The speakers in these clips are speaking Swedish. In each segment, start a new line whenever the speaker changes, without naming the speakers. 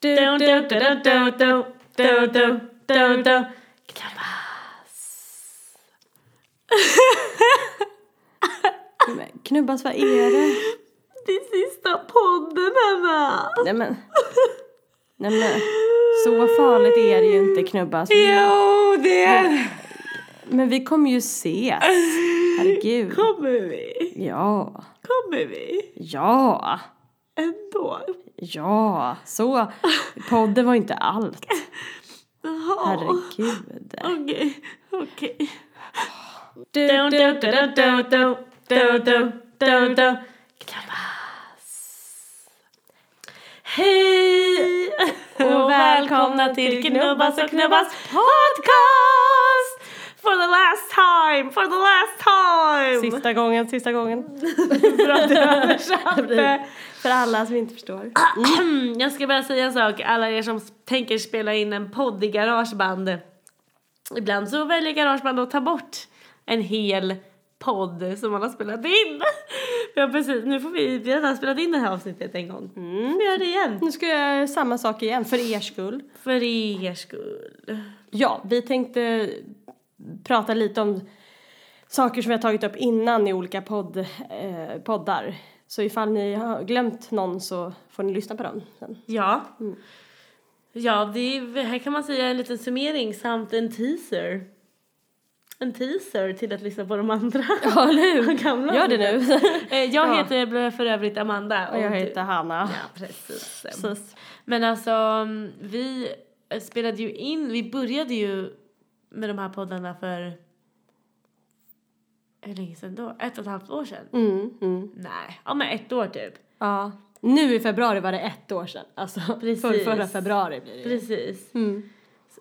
Du, du, du, du, du, du, du, du, du, du. Knubbas.
Men Knubbas, vad är det?
Det är sista podden, Hanna.
Nej men. Nej men. Så farligt är det ju inte Knubbas.
Jo, det
Men vi kommer ju ses. Herregud.
kommer vi.
Ja.
Kommer vi
Ja.
ändå.
Ja. Så. Podden var ju inte allt.
Jaha.
Herregud.
Okej, okej.
Du, du, du, du, du, du, du, du, du, du.
Knubbas. Hej! Och välkomna till Knubbas och Knubbas podcast! For the last time, for the last time!
Sista gången, sista gången.
För att jag översatte.
För alla som inte förstår.
Mm, Jag ska bara säga en sak, alla er som tänker spela in en podd i garageband. Ibland så väljer garageband att ta bort en hel podd som man har spelat in. Ja, precis. Nu får vi, vi har redan spelat in det här avsnittet en gång. Vi gör det igen.
Nu ska jag göra samma sak igen, för er skull.
För er skull.
Ja, vi tänkte prata lite om saker som vi har tagit upp innan i olika podd, eh, poddar. Så ifall ni har glömt någon så får ni lyssna på dem sen.
Ja.
Mm.
Ja, det är, här kan man säga en liten summering samt en teaser. En teaser till att lyssna på de andra.
Ja, eller hur?
Gamla
Gör det nu.
Eh, Jag
Ja.
heter för övrigt Amanda.
Och jag
du-
heter Hanna.
Ja, precis.
Precis.
Men alltså, mm, vi spelade ju in, vi började ju med de här poddarna för hur länge sedan då? Ett och ett halvt år sedan?
Mm, mm.
Nej, ja men ett år typ.
Ja. Nu i februari var det ett år sedan. Alltså,
Precis.
för, förra februari blir det ju.
Precis.
Mm.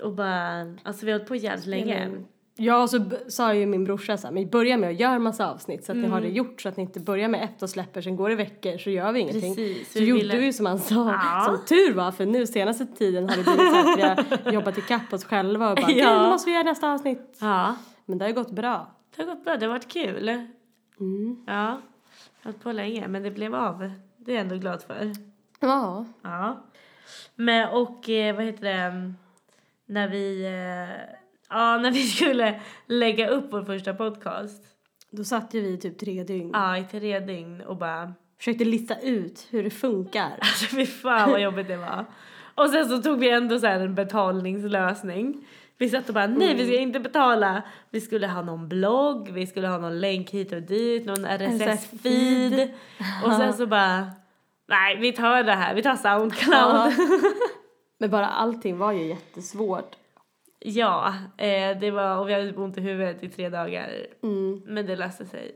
Och bara, alltså vi har hållit på jävligt länge.
Ja, så b- sa ju min brorsa så här, men börja med att göra massa avsnitt så att ni har det gjort så att ni inte börjar med ett och släpper, sen går det veckor så gör vi ingenting.
Precis,
så
vi
gjorde
ville-
vi ju som han sa,
Ja.
som tur var för nu senaste tiden har det blivit så att vi har jobbat ikapp oss själva och bara,
Ja.
ja. nu måste vi göra nästa avsnitt.
Ja.
Men det har ju gått bra. Mm.
Det har gått bra, det har varit kul. Ja. Hållit på länge, men det blev av. Det är jag ändå glad för.
Ja.
Ja. Men, och eh, vad heter det? När vi... Eh, ja, när vi skulle lägga upp vår första podcast.
Då satt ju vi i typ tre dygn.
Ja, i tre dygn och bara...
Försökte lista ut hur det funkar.
Alltså fy fan vad jobbigt det var. Och sen så tog vi ändå så här en betalningslösning. Vi satt och bara nej vi ska inte betala. Vi skulle ha någon blogg, vi skulle ha någon länk hit och dit, någon RSS-feed. Och sen så bara nej vi tar det här, vi tar Soundcloud.
Men bara allting var ju jättesvårt.
Ja, eh, det var, och vi hade ont i huvudet i tre dagar.
Mm.
Men det löste sig.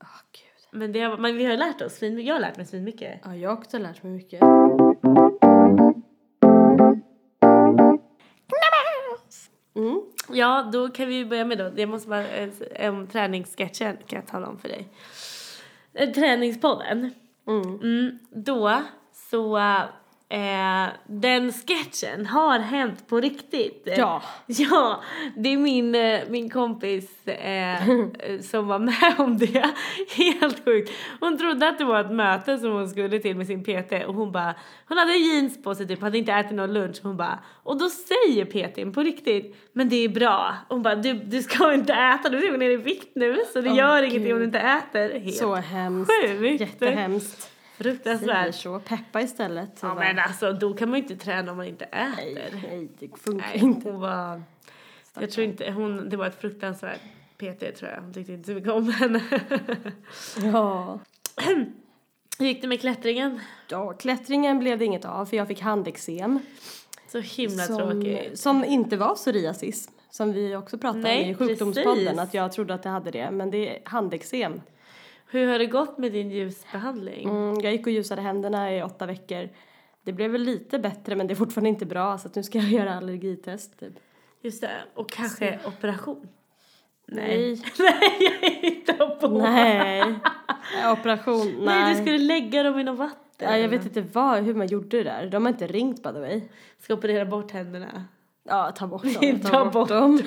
Oh, gud.
Men, det, har- men vi har lärt oss svinmycket. Jag har lärt mig svinmycket.
Ja, jag har också lärt mig mycket. Mm.
Ja, då kan vi börja med då. Jag måste bara, eh, om träningssketchen kan jag tala om för dig. Eh, Träningspodden.
Mm.
Mm, då så, eh, den sketchen har hänt på riktigt.
Ja.
Ja, det är min, eh, min kompis eh, eh, som var med om det. Helt sjukt. Hon trodde att det var ett möte som hon skulle till med sin PT och hon bara, hon hade jeans på sig typ, hade inte ätit någon lunch. Hon bara, och då säger PTn på riktigt, men det är bra. Hon bara, du, du ska inte äta, du går ner i vikt nu så det
Åh,
gör ingenting om du
Gud.
inte äter. Helt
Så hemskt.
sjukt.
Jättehemskt. Säger
Fruktansvärt.
så. Peppa istället.
Ja men alltså då kan man ju inte träna om man inte
nej,
äter.
nej, det funkar
Nej,
inte.
hon var... Jag tror inte, hon, det var ett fruktansvärt PT tror jag. Hon tyckte inte så mycket om henne.
Ja.
Hur gick det med klättringen?
ja. Klättringen blev det inget av för jag fick handexem.
Så himla
Som,
tråkigt.
som inte var psoriasis. Som vi också pratade
Nej,
om i sjukdomspodden.
precis.
Att jag trodde att det hade det. Men det är handexem.
Hur har det gått med din ljusbehandling?
Mm, jag gick och ljusade händerna i åtta veckor. Det blev väl lite bättre men det är fortfarande inte bra så att nu ska jag göra allergitest typ.
Just det, och kanske operation?
Nej.
Nej, jag hittar på!
Nej. Ja, Operation, nej.
Nej, du skulle lägga dem i något vatten.
ja, jag vet inte vad, hur man gjorde det där. De har inte ringt by the way.
Ska operera bort händerna.
Ja, ta bort
Vi
dem.
tar bort
dem.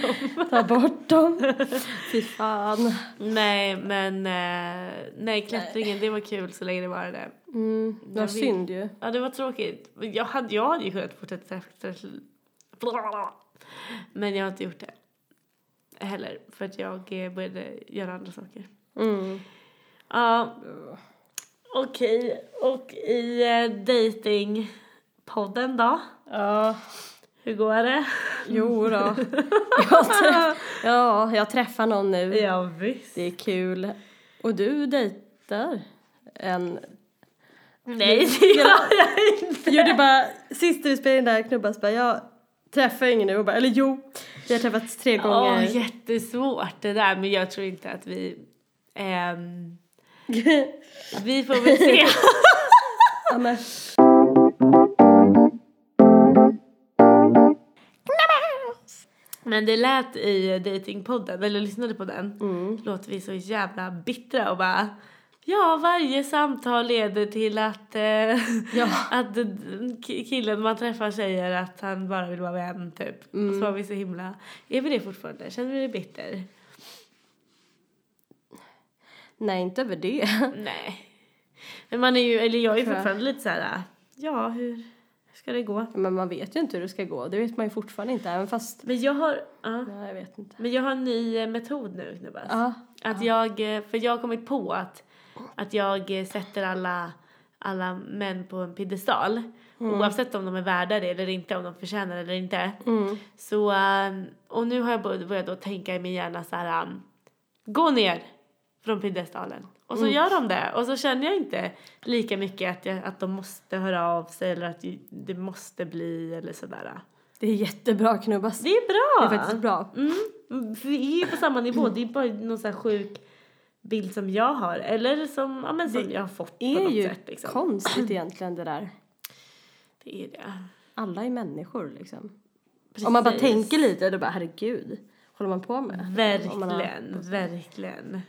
ta bort dem. Fy fan.
Nej, men eh, nej, klättringen det var kul så länge det var det.
Mm, det var
Jag vet.
synd ju.
Ja, det var tråkigt. Men Jag hade, jag hade ju kunnat fortsätta efter... Men jag har inte gjort det heller för att jag eh, började göra andra saker.
Mm.
Ja, okej. Och i eh, datingpodden då?
Ja,
Hur går det?
jo då. jag träff- ja, jag träffar någon nu.
Ja, visst.
Det är kul. Och du dejtar en...
Nej, det gör jag inte.
Jo, du bara, sist vi spelade in den där knubbas bara, jag träffar ingen nu. Och bara, eller jo, vi har träffats tre
Åh,
gånger.
jättesvårt det där. Men jag tror inte att vi... ehm, vi får väl se.
ja, men,
Men det lät i datingpodden, eller lyssnade på den,
Mm.
låter vi så jävla bittra och bara Ja, varje samtal leder till att, eh,
Ja.
att k- killen man träffar säger att han bara vill vara vän, typ. Och
Mm.
så var vi så himla... Är vi det fortfarande? Känner vi dig bitter?
nej, inte över det.
Nej. Men man är ju, eller jag är ju
Tror jag.
fortfarande lite så här. ja hur ska det gå?
Men man vet ju inte hur det ska gå. Det vet man ju fortfarande inte. Även fast...
Men jag har, ja.
Nej, jag vet inte.
men jag har en ny eh, metod nu Knubbas.
Ja.
Att jag, eh, för jag har kommit på att, att jag eh, sätter alla, alla män på en piedestal. Oavsett om de är värda det eller inte, om de förtjänar det eller inte.
Mm.
Så, eh, och nu har jag börjat, börjat då tänka i min hjärna så här, um, gå ner från piedestalen. Och så
Mm.
gör de det. Och så känner jag inte lika mycket att, jag, att de måste höra av sig eller att det måste bli eller sådär.
Det är jättebra knubbas.
Det är bra!
Det är faktiskt bra.
Mm, för vi är på samma nivå. Det är bara någon sån här sjuk bild som jag har. Eller som, ja, men som jag har fått
Det
på
är
något
ju
sätt. Liksom.
konstigt egentligen det där.
det är det.
Alla är människor liksom. Om man bara
Precis.
tänker lite då bara herregud. Håller man på med? Om man har-
Verkligen, verkligen.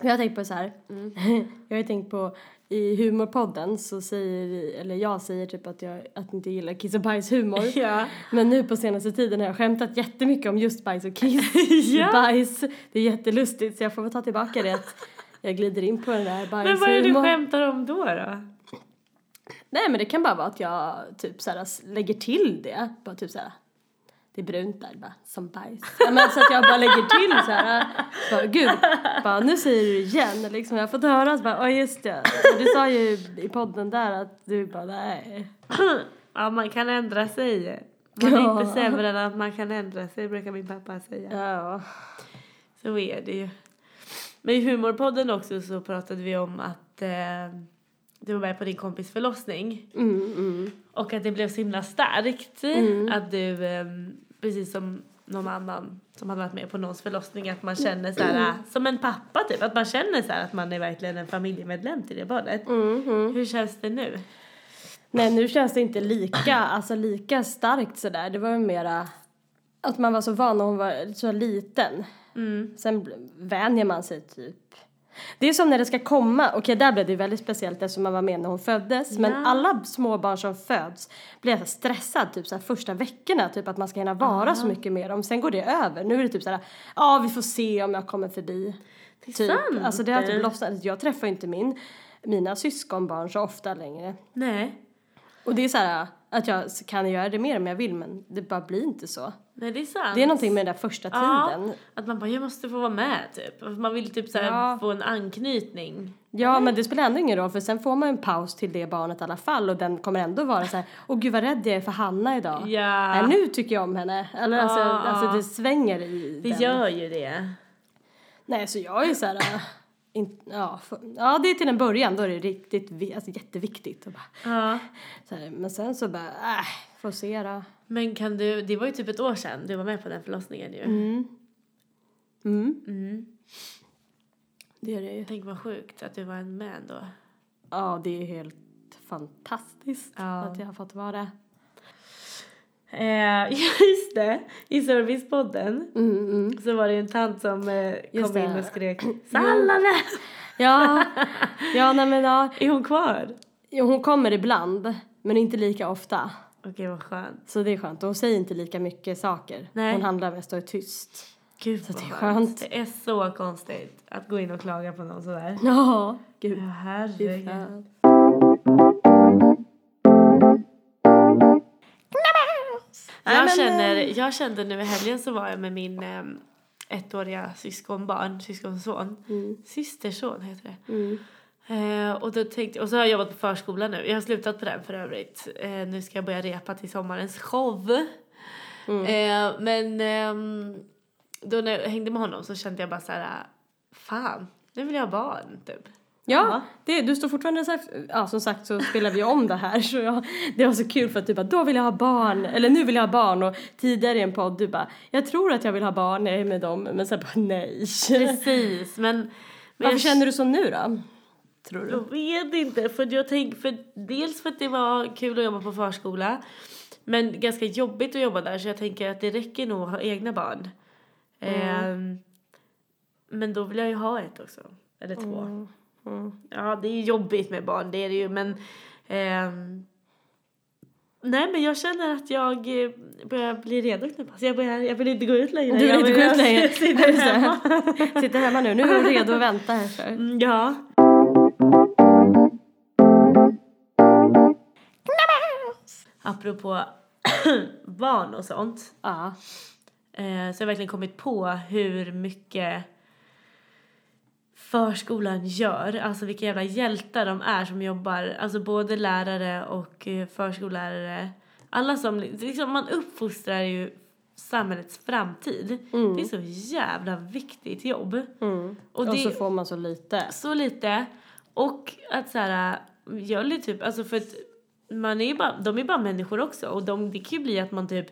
Jag har tänkt på så här.
Mm.
Jag har ju tänkt på i humorpodden så säger vi, eller jag säger typ att jag att inte gillar kiss och bajshumor.
Ja.
Men nu på senaste tiden har jag skämtat jättemycket om just bajs och kiss.
Ja.
Bajs, det är jättelustigt så jag får väl ta tillbaka det att jag glider in på den där bajshumorn.
Men vad är det du skämtar om då? då?
Nej men det kan bara vara att jag typ så här, s- lägger till det. Bara typ så här. Det är brunt där bara, som bajs. Ja, men så att jag bara lägger till så här. äh, Bara, gud, bara, nu säger du det igen. Liksom, jag har fått höra så bara, ja just det. Du sa ju i podden där att du bara, nej.
ja, man kan ändra sig. Man är
Ja.
inte sämre än att man kan ändra sig, brukar min pappa säga.
Ja.
Så är det ju. Men i humorpodden också så pratade vi om att eh, du var med på din kompis förlossning.
Mm, mm.
Och att det blev så himla starkt att du, ehm, precis som någon annan som hade varit med på någons förlossning, att man
Mm.
känner så här, äh, som en pappa typ, att man känner så här att man är verkligen en familjemedlem till det barnet.
Mm-hmm.
Hur känns det nu?
Nej nu känns det inte lika, alltså lika starkt sådär. Det var ju mera att man var så van när hon var så liten.
Mm.
Sen bl- vänjer man sig typ. Det är som när det ska komma, okej där blev det ju väldigt speciellt eftersom man var med när hon föddes. Men
Ja.
alla småbarn som föds blir jag så stressad typ så här första veckorna, typ att man ska hinna vara så mycket med dem. Sen går det över. Nu är det typ så här, ja vi får se om jag kommer förbi.
Det är
Typ.
sant.
Alltså det har typ lossnat. Jag träffar ju inte min, mina syskonbarn så ofta längre.
Nej.
Och det är så här äh, att jag kan göra det mer om jag vill men det bara blir inte så.
Nej, det är sant.
Det är någonting med den där första
Ja,
tiden.
att man bara, jag måste få vara med typ. För Man vill typ så här,
Ja.
få en anknytning.
Ja men det spelar ändå ingen roll för sen får man en paus till det barnet i alla fall och den kommer ändå vara så här, åh gud vad rädd jag är för Hanna idag.
Ja.
Nej, nu tycker jag om henne. Eller alltså,
Ja, ja.
alltså det svänger i
Det
den.
gör ju det.
Nej så jag är så här, äh, in, ja, för, ja det är till en början då är det riktigt, vi- alltså jätteviktigt. Och bara,
Ja.
så här, men sen så bara, äh, får se då.
Men kan du, det var ju typ ett år sedan du var med på den förlossningen ju.
Mm,
Mm.
det är det ju.
Tänk vad sjukt att du var en man då.
Ja, det är helt fantastiskt
Ja.
att jag har fått vara det.
Eh, just det, i servicepodden så var det ju en tant som eh,
Just
kom in
det.
och skrek Salladen!
Ja, ja, nej men ja.
Är hon kvar?
Jo, Jo, hon kommer ibland, men inte lika ofta.
Okej, vad skönt.
Så det är skönt. Och hon säger inte lika mycket saker.
Nej.
Hon handlar mest och är tyst.
Gud,
Så
vad
det är skönt.
Det är så konstigt att gå in och klaga på någon sådär.
Ja,
Ja,
gud. Fy
herregud.
fan. Nej,
Jag,
men, eh,
känner, jag kände nu i helgen så var jag med min eh, ettåriga syskonbarn, syskonson.
Mm.
Systerson heter det. Eh, och, då tänkte, och så har jag jobbat på förskola nu. Jag har slutat på den för övrigt. Eh, nu ska jag börja repa till sommarens show.
Mm.
Eh, men ehm, då när jag hängde med honom så kände jag bara så här, fan, nu vill jag ha barn typ.
Ja, det, du står fortfarande så här, ja som sagt så spelar vi om det här så jag, det var så kul för att du bara då vill jag ha barn eller nu vill jag ha barn och tidigare i en podd du bara jag tror att jag vill ha barn när jag är med dem men sen bara nej.
Precis, men... men
Varför
jag
känner du så nu då? Tror du?
Jag vet inte. För jag tänk, för dels för att det var kul att jobba på förskola men ganska jobbigt att jobba där så jag tänker att det räcker nog att ha egna barn.
Mm.
Ehm, men då vill jag ju ha ett också. Eller två.
Mm.
Ja, det är ju jobbigt med barn, det är det ju. Men, ehm, nej, men jag känner att jag eh, börjar bli redo nu. Alltså jag, börjar, jag vill inte gå ut längre.
Du vill
jag
inte gå ut längre.
Sitter
Just det.
hemma.
Sitter hemma nu, nu är hon redo att vänta här för.
Mm, Ja. Apropå barn och sånt.
Ja.
Eh, så har jag verkligen kommit på hur mycket förskolan gör. Alltså vilka jävla hjältar de är som jobbar. Alltså både lärare och eh, förskollärare. Alla som, liksom man uppfostrar ju samhällets framtid. Det är så jävla viktigt jobb.
Och,
det-
så får man så lite.
så lite. Och att så här, gör lite typ, alltså för att man är ju bara, de är bara människor också och de, det kan ju bli att man typ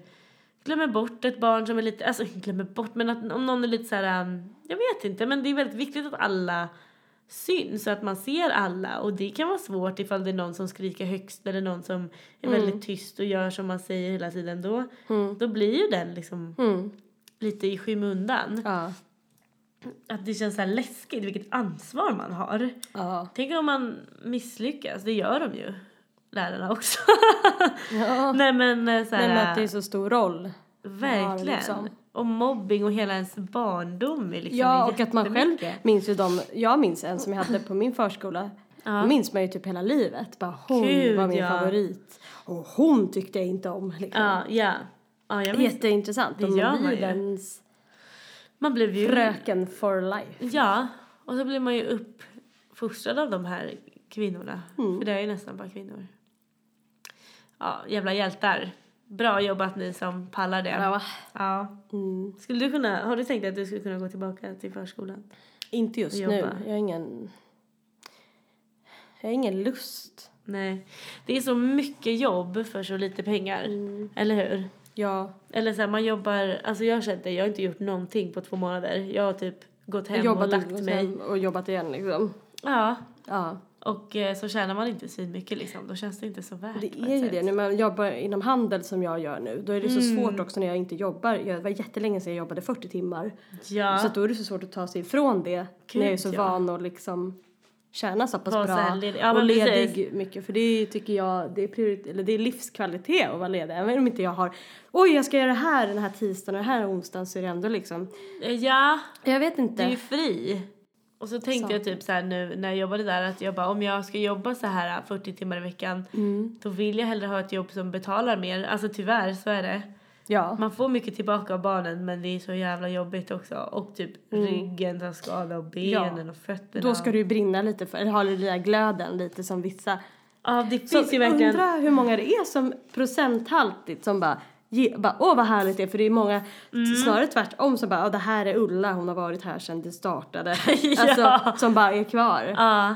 glömmer bort ett barn som är lite, alltså inte glömmer bort men att om någon är lite så här, um, jag vet inte men det är väldigt viktigt att alla syns så att man ser alla och det kan vara svårt ifall det är någon som skriker högst eller någon som är väldigt tyst och gör som man säger hela tiden då, då blir ju den liksom
Mm.
lite i skymundan.
Ja.
Att det känns så här läskigt vilket ansvar man har.
Ja.
Tänk om man misslyckas, det gör de ju. Lärarna också.
ja.
Nej men eh, så
Nej, men att
här,
det är så stor roll.
verkligen.
Ja, liksom.
Och mobbing och hela ens barndom är liksom
Ja, och att man själv
jättemycket.
minns ju de, jag minns en som jag hade på min förskola.
Ja.
Minns man ju typ hela livet. Bara hon
Gud,
var min
ja.
favorit. Och hon tyckte jag inte om. Liksom.
Ja, ja. ja jag minns.
Jätteintressant.
Det
De
gör man
blir
ju.
ens
Man blev ju...
fröken for life.
Ja, och så blir man ju uppfostrad av de här kvinnorna.
Mm.
För det är ju nästan bara kvinnor. Ja, jävla hjältar. Bra jobbat ni som pallar det.
Ja.
Ja.
Mm.
Skulle du kunna, har du tänkt att du skulle kunna gå tillbaka till förskolan?
Inte just
Jobba.
nu. Jag har ingen... Jag har ingen lust.
Nej. Det är så mycket jobb för så lite pengar.
Mm.
Eller hur?
Jag
Eller så här, man jobbar... Alltså jag har känt det, jag har inte gjort någonting på två månader. Jag har typ gått
har
hem
jobbat
och lagt
och
mig.
sen- och jobbat igen liksom.
Ja.
Ja.
Och eh, så tjänar man inte så mycket liksom. Då känns det inte så värt.
Det
på ett
är ju
sätt. Mm.
det. När man jobbar inom handel som jag gör nu, då är det så svårt också när jag inte jobbar. Jag det var jättelänge sedan jag jobbade 40 timmar.
Ja.
Så att då är det så svårt att ta sig ifrån det
Gud,
när jag är så
ja.
van att liksom tjäna så pass
Vara så
bra
här ledig. Ja,
och
men precis.
ledig mycket. För det tycker jag, det är, priori- eller det är livskvalitet att vara ledig. Även om inte jag har, oj jag ska göra det här den här tisdagen och den här onsdagen så är det ändå liksom,
Eh, Ja.
jag vet
Du är ju
inte.
fri. Och så tänkte
Sant.
jag typ så här nu när jag jobbade där att jag bara om jag ska jobba så här 40 timmar i veckan
Mm.
då vill jag hellre ha ett jobb som betalar mer. Alltså tyvärr så är det.
Ja.
Man får mycket tillbaka av barnen men det är så jävla jobbigt också. Och typ ryggen tar skada och benen och fötterna.
Mm. Då ska du ju brinna lite för, eller ha den där glöden lite som vissa.
Ja det
Så
finns ju verkligen.
undrar hur många det är som procenthaltigt som bara ge- bara, åh vad härligt det är för det är många
Mm.
snarare tvärtom som bara åh, det här är Ulla hon har varit här sedan det startade.
Ja.
Alltså som bara är kvar.
Ja.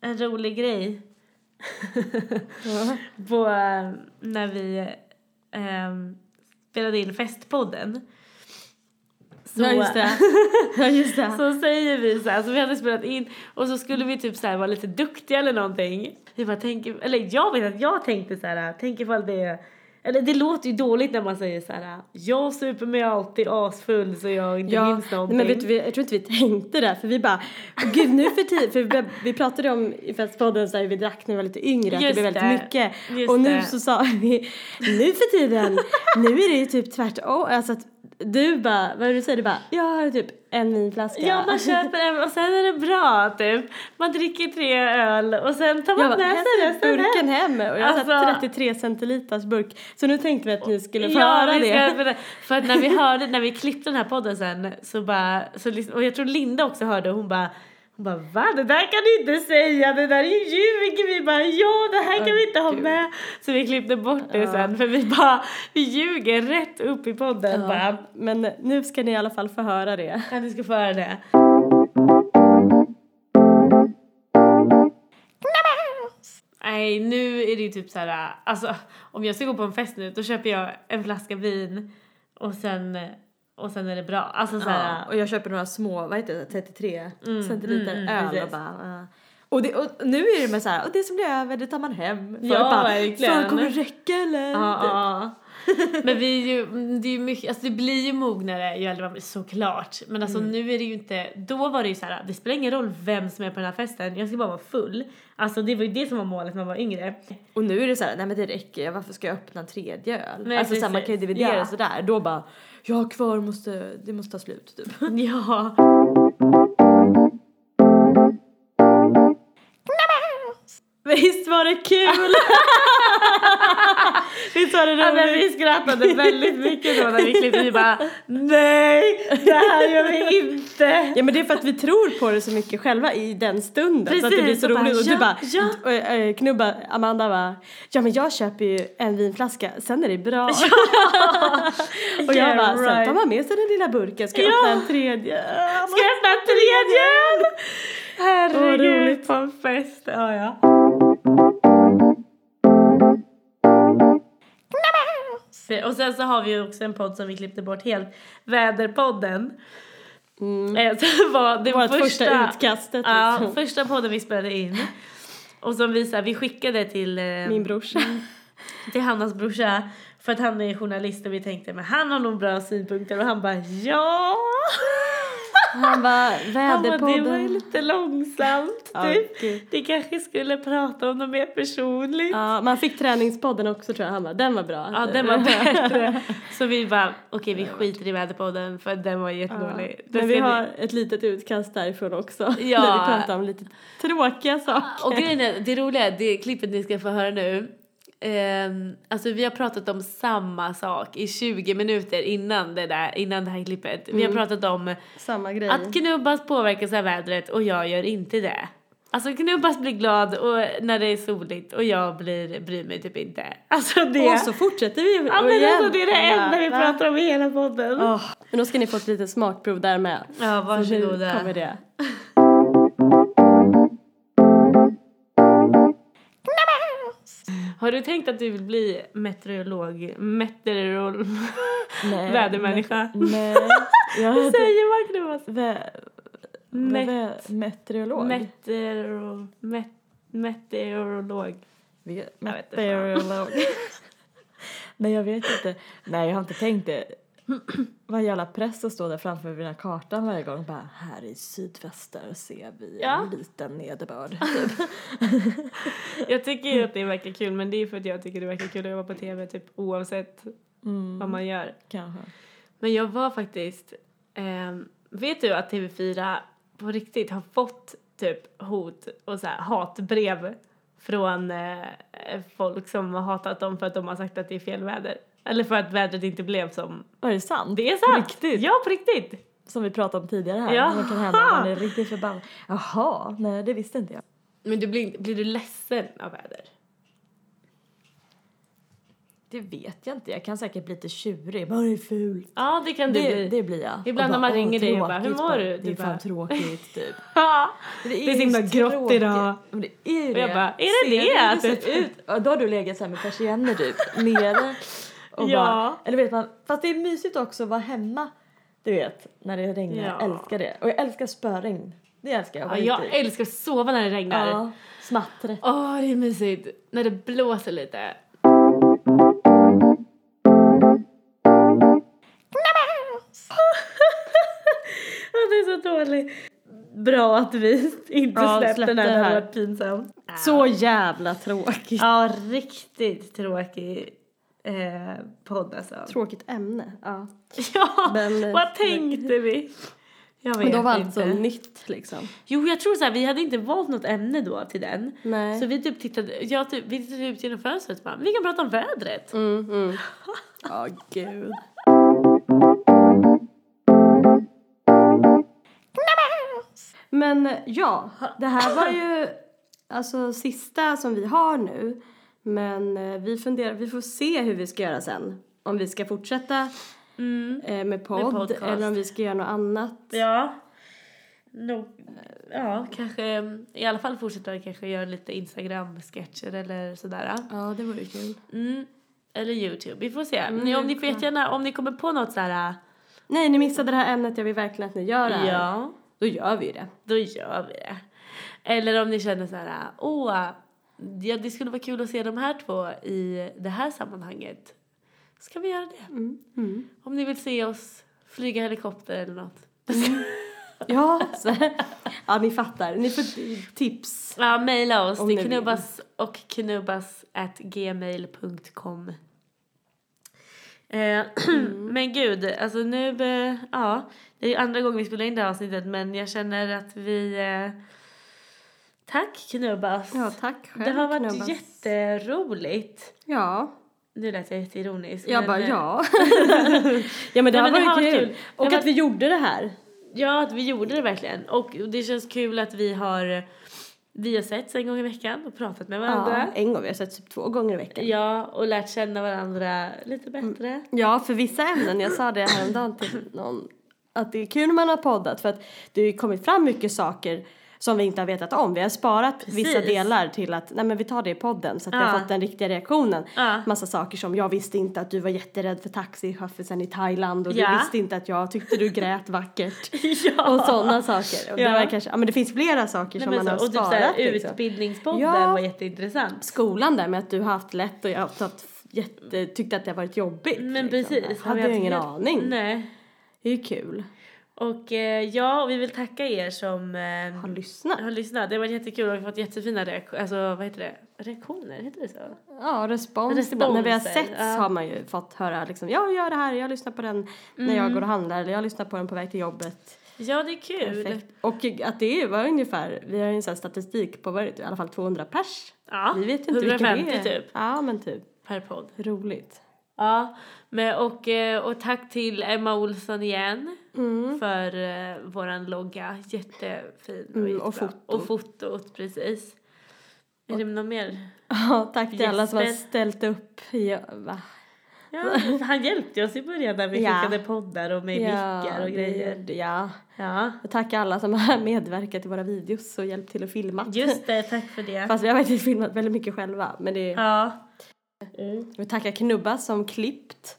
En rolig grej. på eh, när vi ehm, spelade in festpodden. Så,
Ja just det. Ja just det.
så säger vi så här, så vi hade spelat in och så skulle vi typ så här vara lite duktiga eller någonting. Vi bara tänker, eller jag vet att jag tänkte så här, tänk ifall det är Eller det låter ju dåligt när man säger så här. Jag super mig alltid asfull så jag inte
Ja,
minns
nej,
någonting.
men vet du, vi- jag tror inte vi tänkte där för vi bara, "Åh, gud nu för tid, för vi, vi pratade om i festpodden så här, hur vi drack när vi var lite yngre, att det
Just
blev väldigt
det,
mycket.
just
Och nu
det.
så sa vi, nu för tiden, nu är det ju typ tvärtom. Alltså att du bara, vad är det du säger? Du bara, jag har typ en vinflaska.
Ja, man köper en och sen är det bra typ. Man dricker tre öl och sen tar man
jag bara,
med sig
hämtar
resten hem.
burken hem. Och jag alltså,
Alltså-
satt 33 centiliters burk. Så nu tänkte vi att ni skulle få
Ja,
höra
vi ska
det.
höra det. För att när vi hörde, när vi klippte den här podden sen så bara, så lyssn- och jag tror Linda också hörde och hon bara hon bara va det där kan du inte säga, det där är ju ljug! Vi bara ja det här kan vi inte ha
Gud.
med. Så vi klippte bort det
Ja.
sen för vi bara, vi ljuger rätt upp i podden bara.
Ja, men nu ska ni i alla fall få höra det.
Ja ni ska få höra det. Nej nu är det ju typ så här, alltså om jag ska gå på en fest nu då köper jag en flaska vin och sen, och sen är det bra. Alltså så här,
och jag köper några små, vad heter det, 33 centiliter
mm, mm,
öl och
precis.
bara... ah. Och, det, och nu är det med så här, och det som blir över det tar man hem. Folk
Ja,
bara,
verkligen.
Fan kommer det räcka eller?
Ja, ja. Men vi är ju, mm, det är ju mycket, alltså det blir ju mognare ju äldre man blir såklart. Men alltså nu är det ju inte, då var det ju så här: det spelar ingen roll vem som är på den här festen, jag ska bara vara full. Alltså det var ju det som var målet när man var yngre.
Typ. Och nu är det så här, nej men det räcker, varför ska jag öppna en tredje öl?
Nej,
alltså så här, man
precis.
kan ju dividera
Ja.
sådär. Då bara, jag har kvar, måste, det måste ta slut typ.
Ja.
Visst var det kul? Visst var det
Ja, men
roligt?
vi skrattade väldigt mycket då när vi klippte, vi bara nej det här gör vi inte.
Ja men det är för att vi tror på det så mycket själva i den stunden. så att det
Precis,
blir så
och bara,
roligt. och du
ja,
bara,
ja.
och, eh, knubba, Amanda bara, ja men jag köper ju en vinflaska, sen är det bra. och jag
Yeah,
bara, sen
right.
tar man med sig den lilla burken, ska jag
Ja.
öppna en tredje?
Ska jag öppna tredje öl?
Vad
Herregud,
roligt.
på en fest. Ja, ja. Och sen så har vi ju också en podd som vi klippte bort helt, Väderpodden. Eh, som var det
Mm. Vårt första,
första
utkastet
Ja,
liksom.
första podden vi spelade in. Och som vi, så här, vi skickade till, eh,
Min brorsa.
till Hannas brorsa för att han är journalist och vi tänkte men han har nog bra synpunkter och han bara ja.
Han bara,
Han bara, det var ju
väderpodden.
lite långsamt
Ja,
typ.
gud.
Det kanske skulle prata om något mer personligt. Ja.
Ja, man fick träningspodden också tror jag, han bara, den var bra.
den var bättre. Så vi bara, okej vi skiter i väderpodden för den var jättedålig. Den
Men vi
ska ni-
har ett litet utkast därifrån också.
Ja. Ah,
När vi pratar om lite tråkiga saker.
Och grejen är, det roliga är det klippet ni ska få höra nu. ehm, alltså vi har pratat om samma sak i 20 minuter innan det där, innan det här klippet. Vi har
Mm.
pratat om
Samma grej.
att Knubbas påverkas av vädret och jag gör inte det. Alltså Knubbas blir glad och när det är soligt och jag blir, bryr mig typ inte. Alltså det.
Och så fortsätter vi
ja, men
igen.
alltså, det är det
Ja,
enda vi
va?
pratar om i hela podden.
Åh, Men då ska ni få ett litet smakprov där med.
Ja,
Så nu
varsågoda.
kommer det.
Har du tänkt att du vill bli meteorolog? Meteorolog?
Nej.
Vädermänniska?
Nej. Jag
Hur
heter
säger man Knubbas?
vä-
Met-
vä- meteorolog.
Meteoro, met, meteorolog.
Ve-
Jag vet inte
Meteorolog. Nej jag vet inte. Nej jag har inte tänkt det. Vad jävla press att stå där framför den här kartan varje gång och bara här i sydväster ser vi
Ja.
en liten nederbörd.
Jag tycker ju att det verkar kul men det är för att jag tycker det verkar kul att jobba på tv typ oavsett vad man gör.
Mm, Kanske.
Men jag var faktiskt, ehm, vet du att TV4 på riktigt har fått typ hot och så här hatbrev från eh, folk som har hatat dem för att de har sagt att det är fel väder. Eller för att vädret inte blev som...
Var det sant?
Det är sant!
På riktigt?
Ja, på riktigt!
Som vi pratade om tidigare här.
Ja.
Vad kan hända om man är riktigt förbannad? Jaha, nej det visste inte jag.
Men du blir, blir du ledsen av väder?
Det vet jag inte. Jag kan säkert bli lite tjurig. Vad är det fult?
Ja, det kan du
Det,
bli.
det blir jag.
Ibland
Och
när man
"Åh,
ringer dig och bara,
tråkigt."
"Hur mår du?"
Det
Du
är
bara-
fan tråkigt typ.
Ja. Det är så
ju
himla grått
tråkigt.
idag.
Men det är ju
Och
det.
jag bara, är det det?
Ser du hur
Typ.
ser ut? Ja, då har du legat så här med persienner typ, nere. Och
Ja.
bara, eller vet man, fast det är mysigt också att vara hemma. Du vet, när det regnar.
Ja.
Jag älskar det. Och jag älskar spöregn. Det älskar jag.
Ja, jag älskar att sova när det regnar. Åh,
ja, smattret.
det är mysigt. När det blåser lite. dålig. Bra att vi inte
Ja,
släppte den här, det
släppte här.
hade varit pinsamt.
Så jävla tråkigt.
Ja, riktigt tråkig eh, podd alltså. eh,
Tråkigt ämne. Ja.
Ja,
Men-
vad tänkte vi? Jag
Men
vet
då var allt
inte.
så nytt liksom.
Jo, jag tror så här, vi hade inte valt något ämne då till den.
Nej.
Så vi typ tittade, jag typ, vi tittade ut genom fönstret och bara, vi kan prata om vädret.
Mm, mm. Ja, gud. Men ja, det här var ju alltså sista som vi har nu. Men eh, vi funderar, vi får se hur vi ska göra sen. Om vi ska fortsätta
Mm.
eh, med podd
podcast.
eller om vi ska göra något annat.
Ja. Nog, ja, kanske i alla fall fortsätta kanske göra lite Instagram-sketcher eller sådär.
Ja, det vore kul.
Mm. Eller Youtube, vi får se. Ni, om ni får jättegärna, om ni kommer på något sådär.
Nej, ni missade det här ämnet. Jag vill verkligen att ni gör det här.
Ja.
Då gör vi det.
då gör vi det. Eller om ni känner så här, åh, ja, det skulle vara kul att se de här två i det här sammanhanget. Ska vi göra det? Om ni vill se oss flyga helikopter eller något.
Ja, så, ja ni fattar. Ni får tips.
Ja, mejla oss
Om
till
ni vill.
knubbas och knubbas at gmail.com. Eh,
Mm.
Men gud, alltså nu, eh, ja, det är ju andra gången vi spelar in det här avsnittet men jag känner att vi, eh, tack knubbas.
Ja, tack själv.
Det har varit
Knubbas.
jätteroligt.
Ja,
Nu lät jag jätteironisk.
jag
men,
bara
eh,
ja. ja men det
Nej,
har
men det har
varit
varit
kul.
kul. Det
Och
har
att vi gjorde det här.
Ja, att vi gjorde det verkligen. Och det känns kul att vi har, vi har setts en gång i veckan och pratat med varandra.
Ja, en gång, vi har sett typ två gånger i
Ja,
veckan.
och lärt känna varandra lite
Mm.
bättre.
Ja, för vissa ämnen, jag sa det häromdagen till någon, att det är kul när man har poddat för att det har ju kommit fram mycket saker som vi inte har vetat om. Vi har sparat vissa delar till att, nej men vi tar det i podden så att vi har
Ja.
fått den riktiga reaktionen.
Ja.
Massa saker som, jag visste inte att du var jätterädd för taxichauffören i Thailand och
Ja.
du visste inte att jag tyckte du grät vackert.
Ja.
Och sådana saker. Och
Ja.
det, var kanske, ja, men det finns flera saker
Nej,
som
men
man
så,
har
och typ
sparat.
såhär,
liksom.
utbildningspodden
Ja.
var jätteintressant.
Skolan där med att du har haft lätt och jag har haft jätte, tyckte att det har varit jobbigt.
Men
liksom.
precis. har
Hade
vi
jag
haft
ingen
helt-
aning.
Nej.
Det är ju kul.
Och eh, ja, och vi vill tacka er som eh,
Har lyssnat.
har lyssnat. Det har varit jättekul och vi har fått jättefina reaktioner, alltså vad heter det? Reaktioner, heter det så?
Ja, respons.
Responser,
ibland. När vi har sett
ja.
har man ju fått höra liksom, jag gör det här, jag lyssnar på den när
Mm.
jag går och handlar eller jag lyssnar på den på väg till jobbet.
Ja, det är kul.
Perfekt. Och att det var ungefär, vi har ju en sån här statistik på vad är det, i alla fall 200 pers.
Ja,
Vi vet inte vilka det
150
är.
typ
Ja, men typ.
per podd.
Roligt.
Ja, men och, eh, och tack till Emma Olsson igen
Mm.
för eh, våran logga. Jättefin och,
Mm, och
jättebra.
foto.
och fotot, precis. Är det något mer?
Ja, tack till alla som har
Jesper.
ställt upp. Ja, va?
Ja, han hjälpte oss i början när vi
Ja.
skickade poddar och med mickar och
det
grejer.
gjorde jag.
Ja,
Och tack alla som har medverkat i våra videos och hjälpt till att filma.
just det. Tack för det.
Fast vi har faktiskt filmat väldigt mycket själva. Men det är...
Ja.
Vi tackar Knubba som klippt.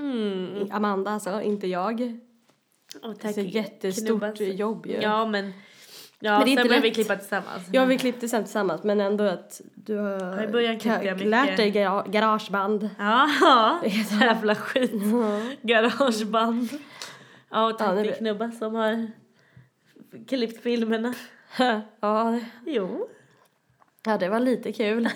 Mm.
Amanda alltså, inte jag.
Och
Det är
tack
ett jättestort
Knubbas.
jobb ju.
Ja, men... Ja,
Men det är
sen
inte
började vi
lätt.
klippa tillsammans.
Ja, vi klippte sen tillsammans men ändå att du har
Ja, i början klippte
ka-
jag mycket.
lärt dig gara- garageband.
Ja, jävla skit. Garageband. Ja, och
Ja,
tack
det-
till Knubba som har klippt filmerna.
ja, det-
Jo.
ja, det var lite kul.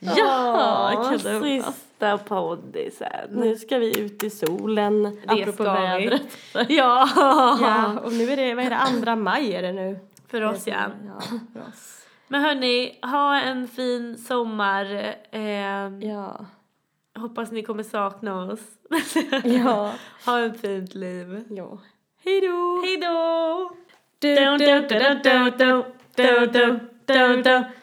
Ja, sista poddisen.
Nu ska vi ut i solen, det apropå
ska vi.
vädret.
Ja.
Ja, och nu är det, vad är det, andra maj är det nu?
För oss ja.
Ja, för oss.
Men hörni, ha en fin sommar. Eh,
Ja.
Hoppas ni kommer sakna oss.
Ja.
ha ett fint liv.
ja. Hej då!
Hej då!
Du, du, du, du, du, du, du, du, du, du.